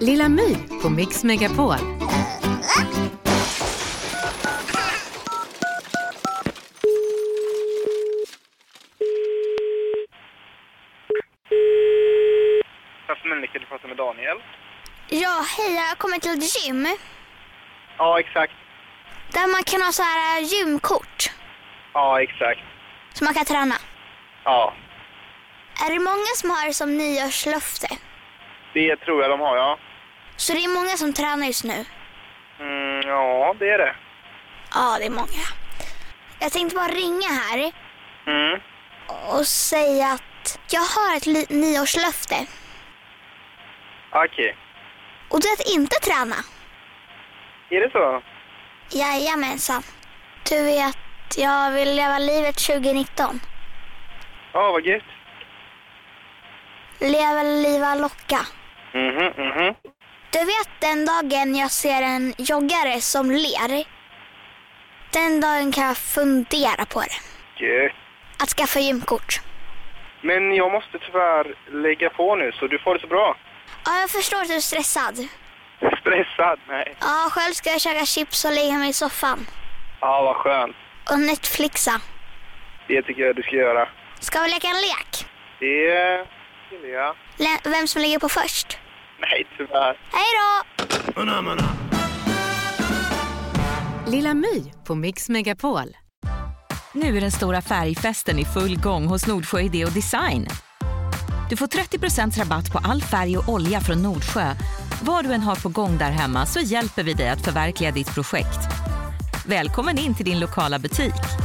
Lilla My på Mix Megapol. Stadsmänniska, du pratar med Daniel. Ja, hej, jag har kommit till ett gym Ja, exakt. där man kan ha så här eh, gymkort Ja, exakt. så man kan träna. Ja, Är det många som har det som nyårslöfte? det tror jag de har, ja. Så det är många som tränar just nu? Mm, ja, det är det. Ja, det är många. Jag tänkte bara ringa här Mm. och säga att jag har ett li- nyårslöfte Okej. och det är att inte träna. Är det så? Jajamensan. Du vet, jag vill leva livet 2019. Ja, vad gött. Leva, liva, locka. Mhm, mhm. Du vet den dagen jag ser en joggare som ler. Den dagen kan jag fundera på det. Gött. Att skaffa gymkort. Men jag måste tyvärr lägga på nu, så du får det så bra. Ja, jag förstår att du är stressad. Stressad? Nej. Ja, själv ska jag käka chips och lägga mig i soffan. Ja, vad skönt. Och Netflixa. Det tycker jag du ska göra. Ska vi leka en lek? Det gillar jag. Le- vem som ligger på först? Nej, tyvärr. Hej då! Lilla My på Mix Megapol. Nu är den stora färgfesten i full gång hos Nordsjö Idé och Design. Du får 30 rabatt på all färg och olja från Nordsjö. Vad du än har på gång där hemma så hjälper vi dig att förverkliga ditt projekt. Välkommen in till din lokala butik.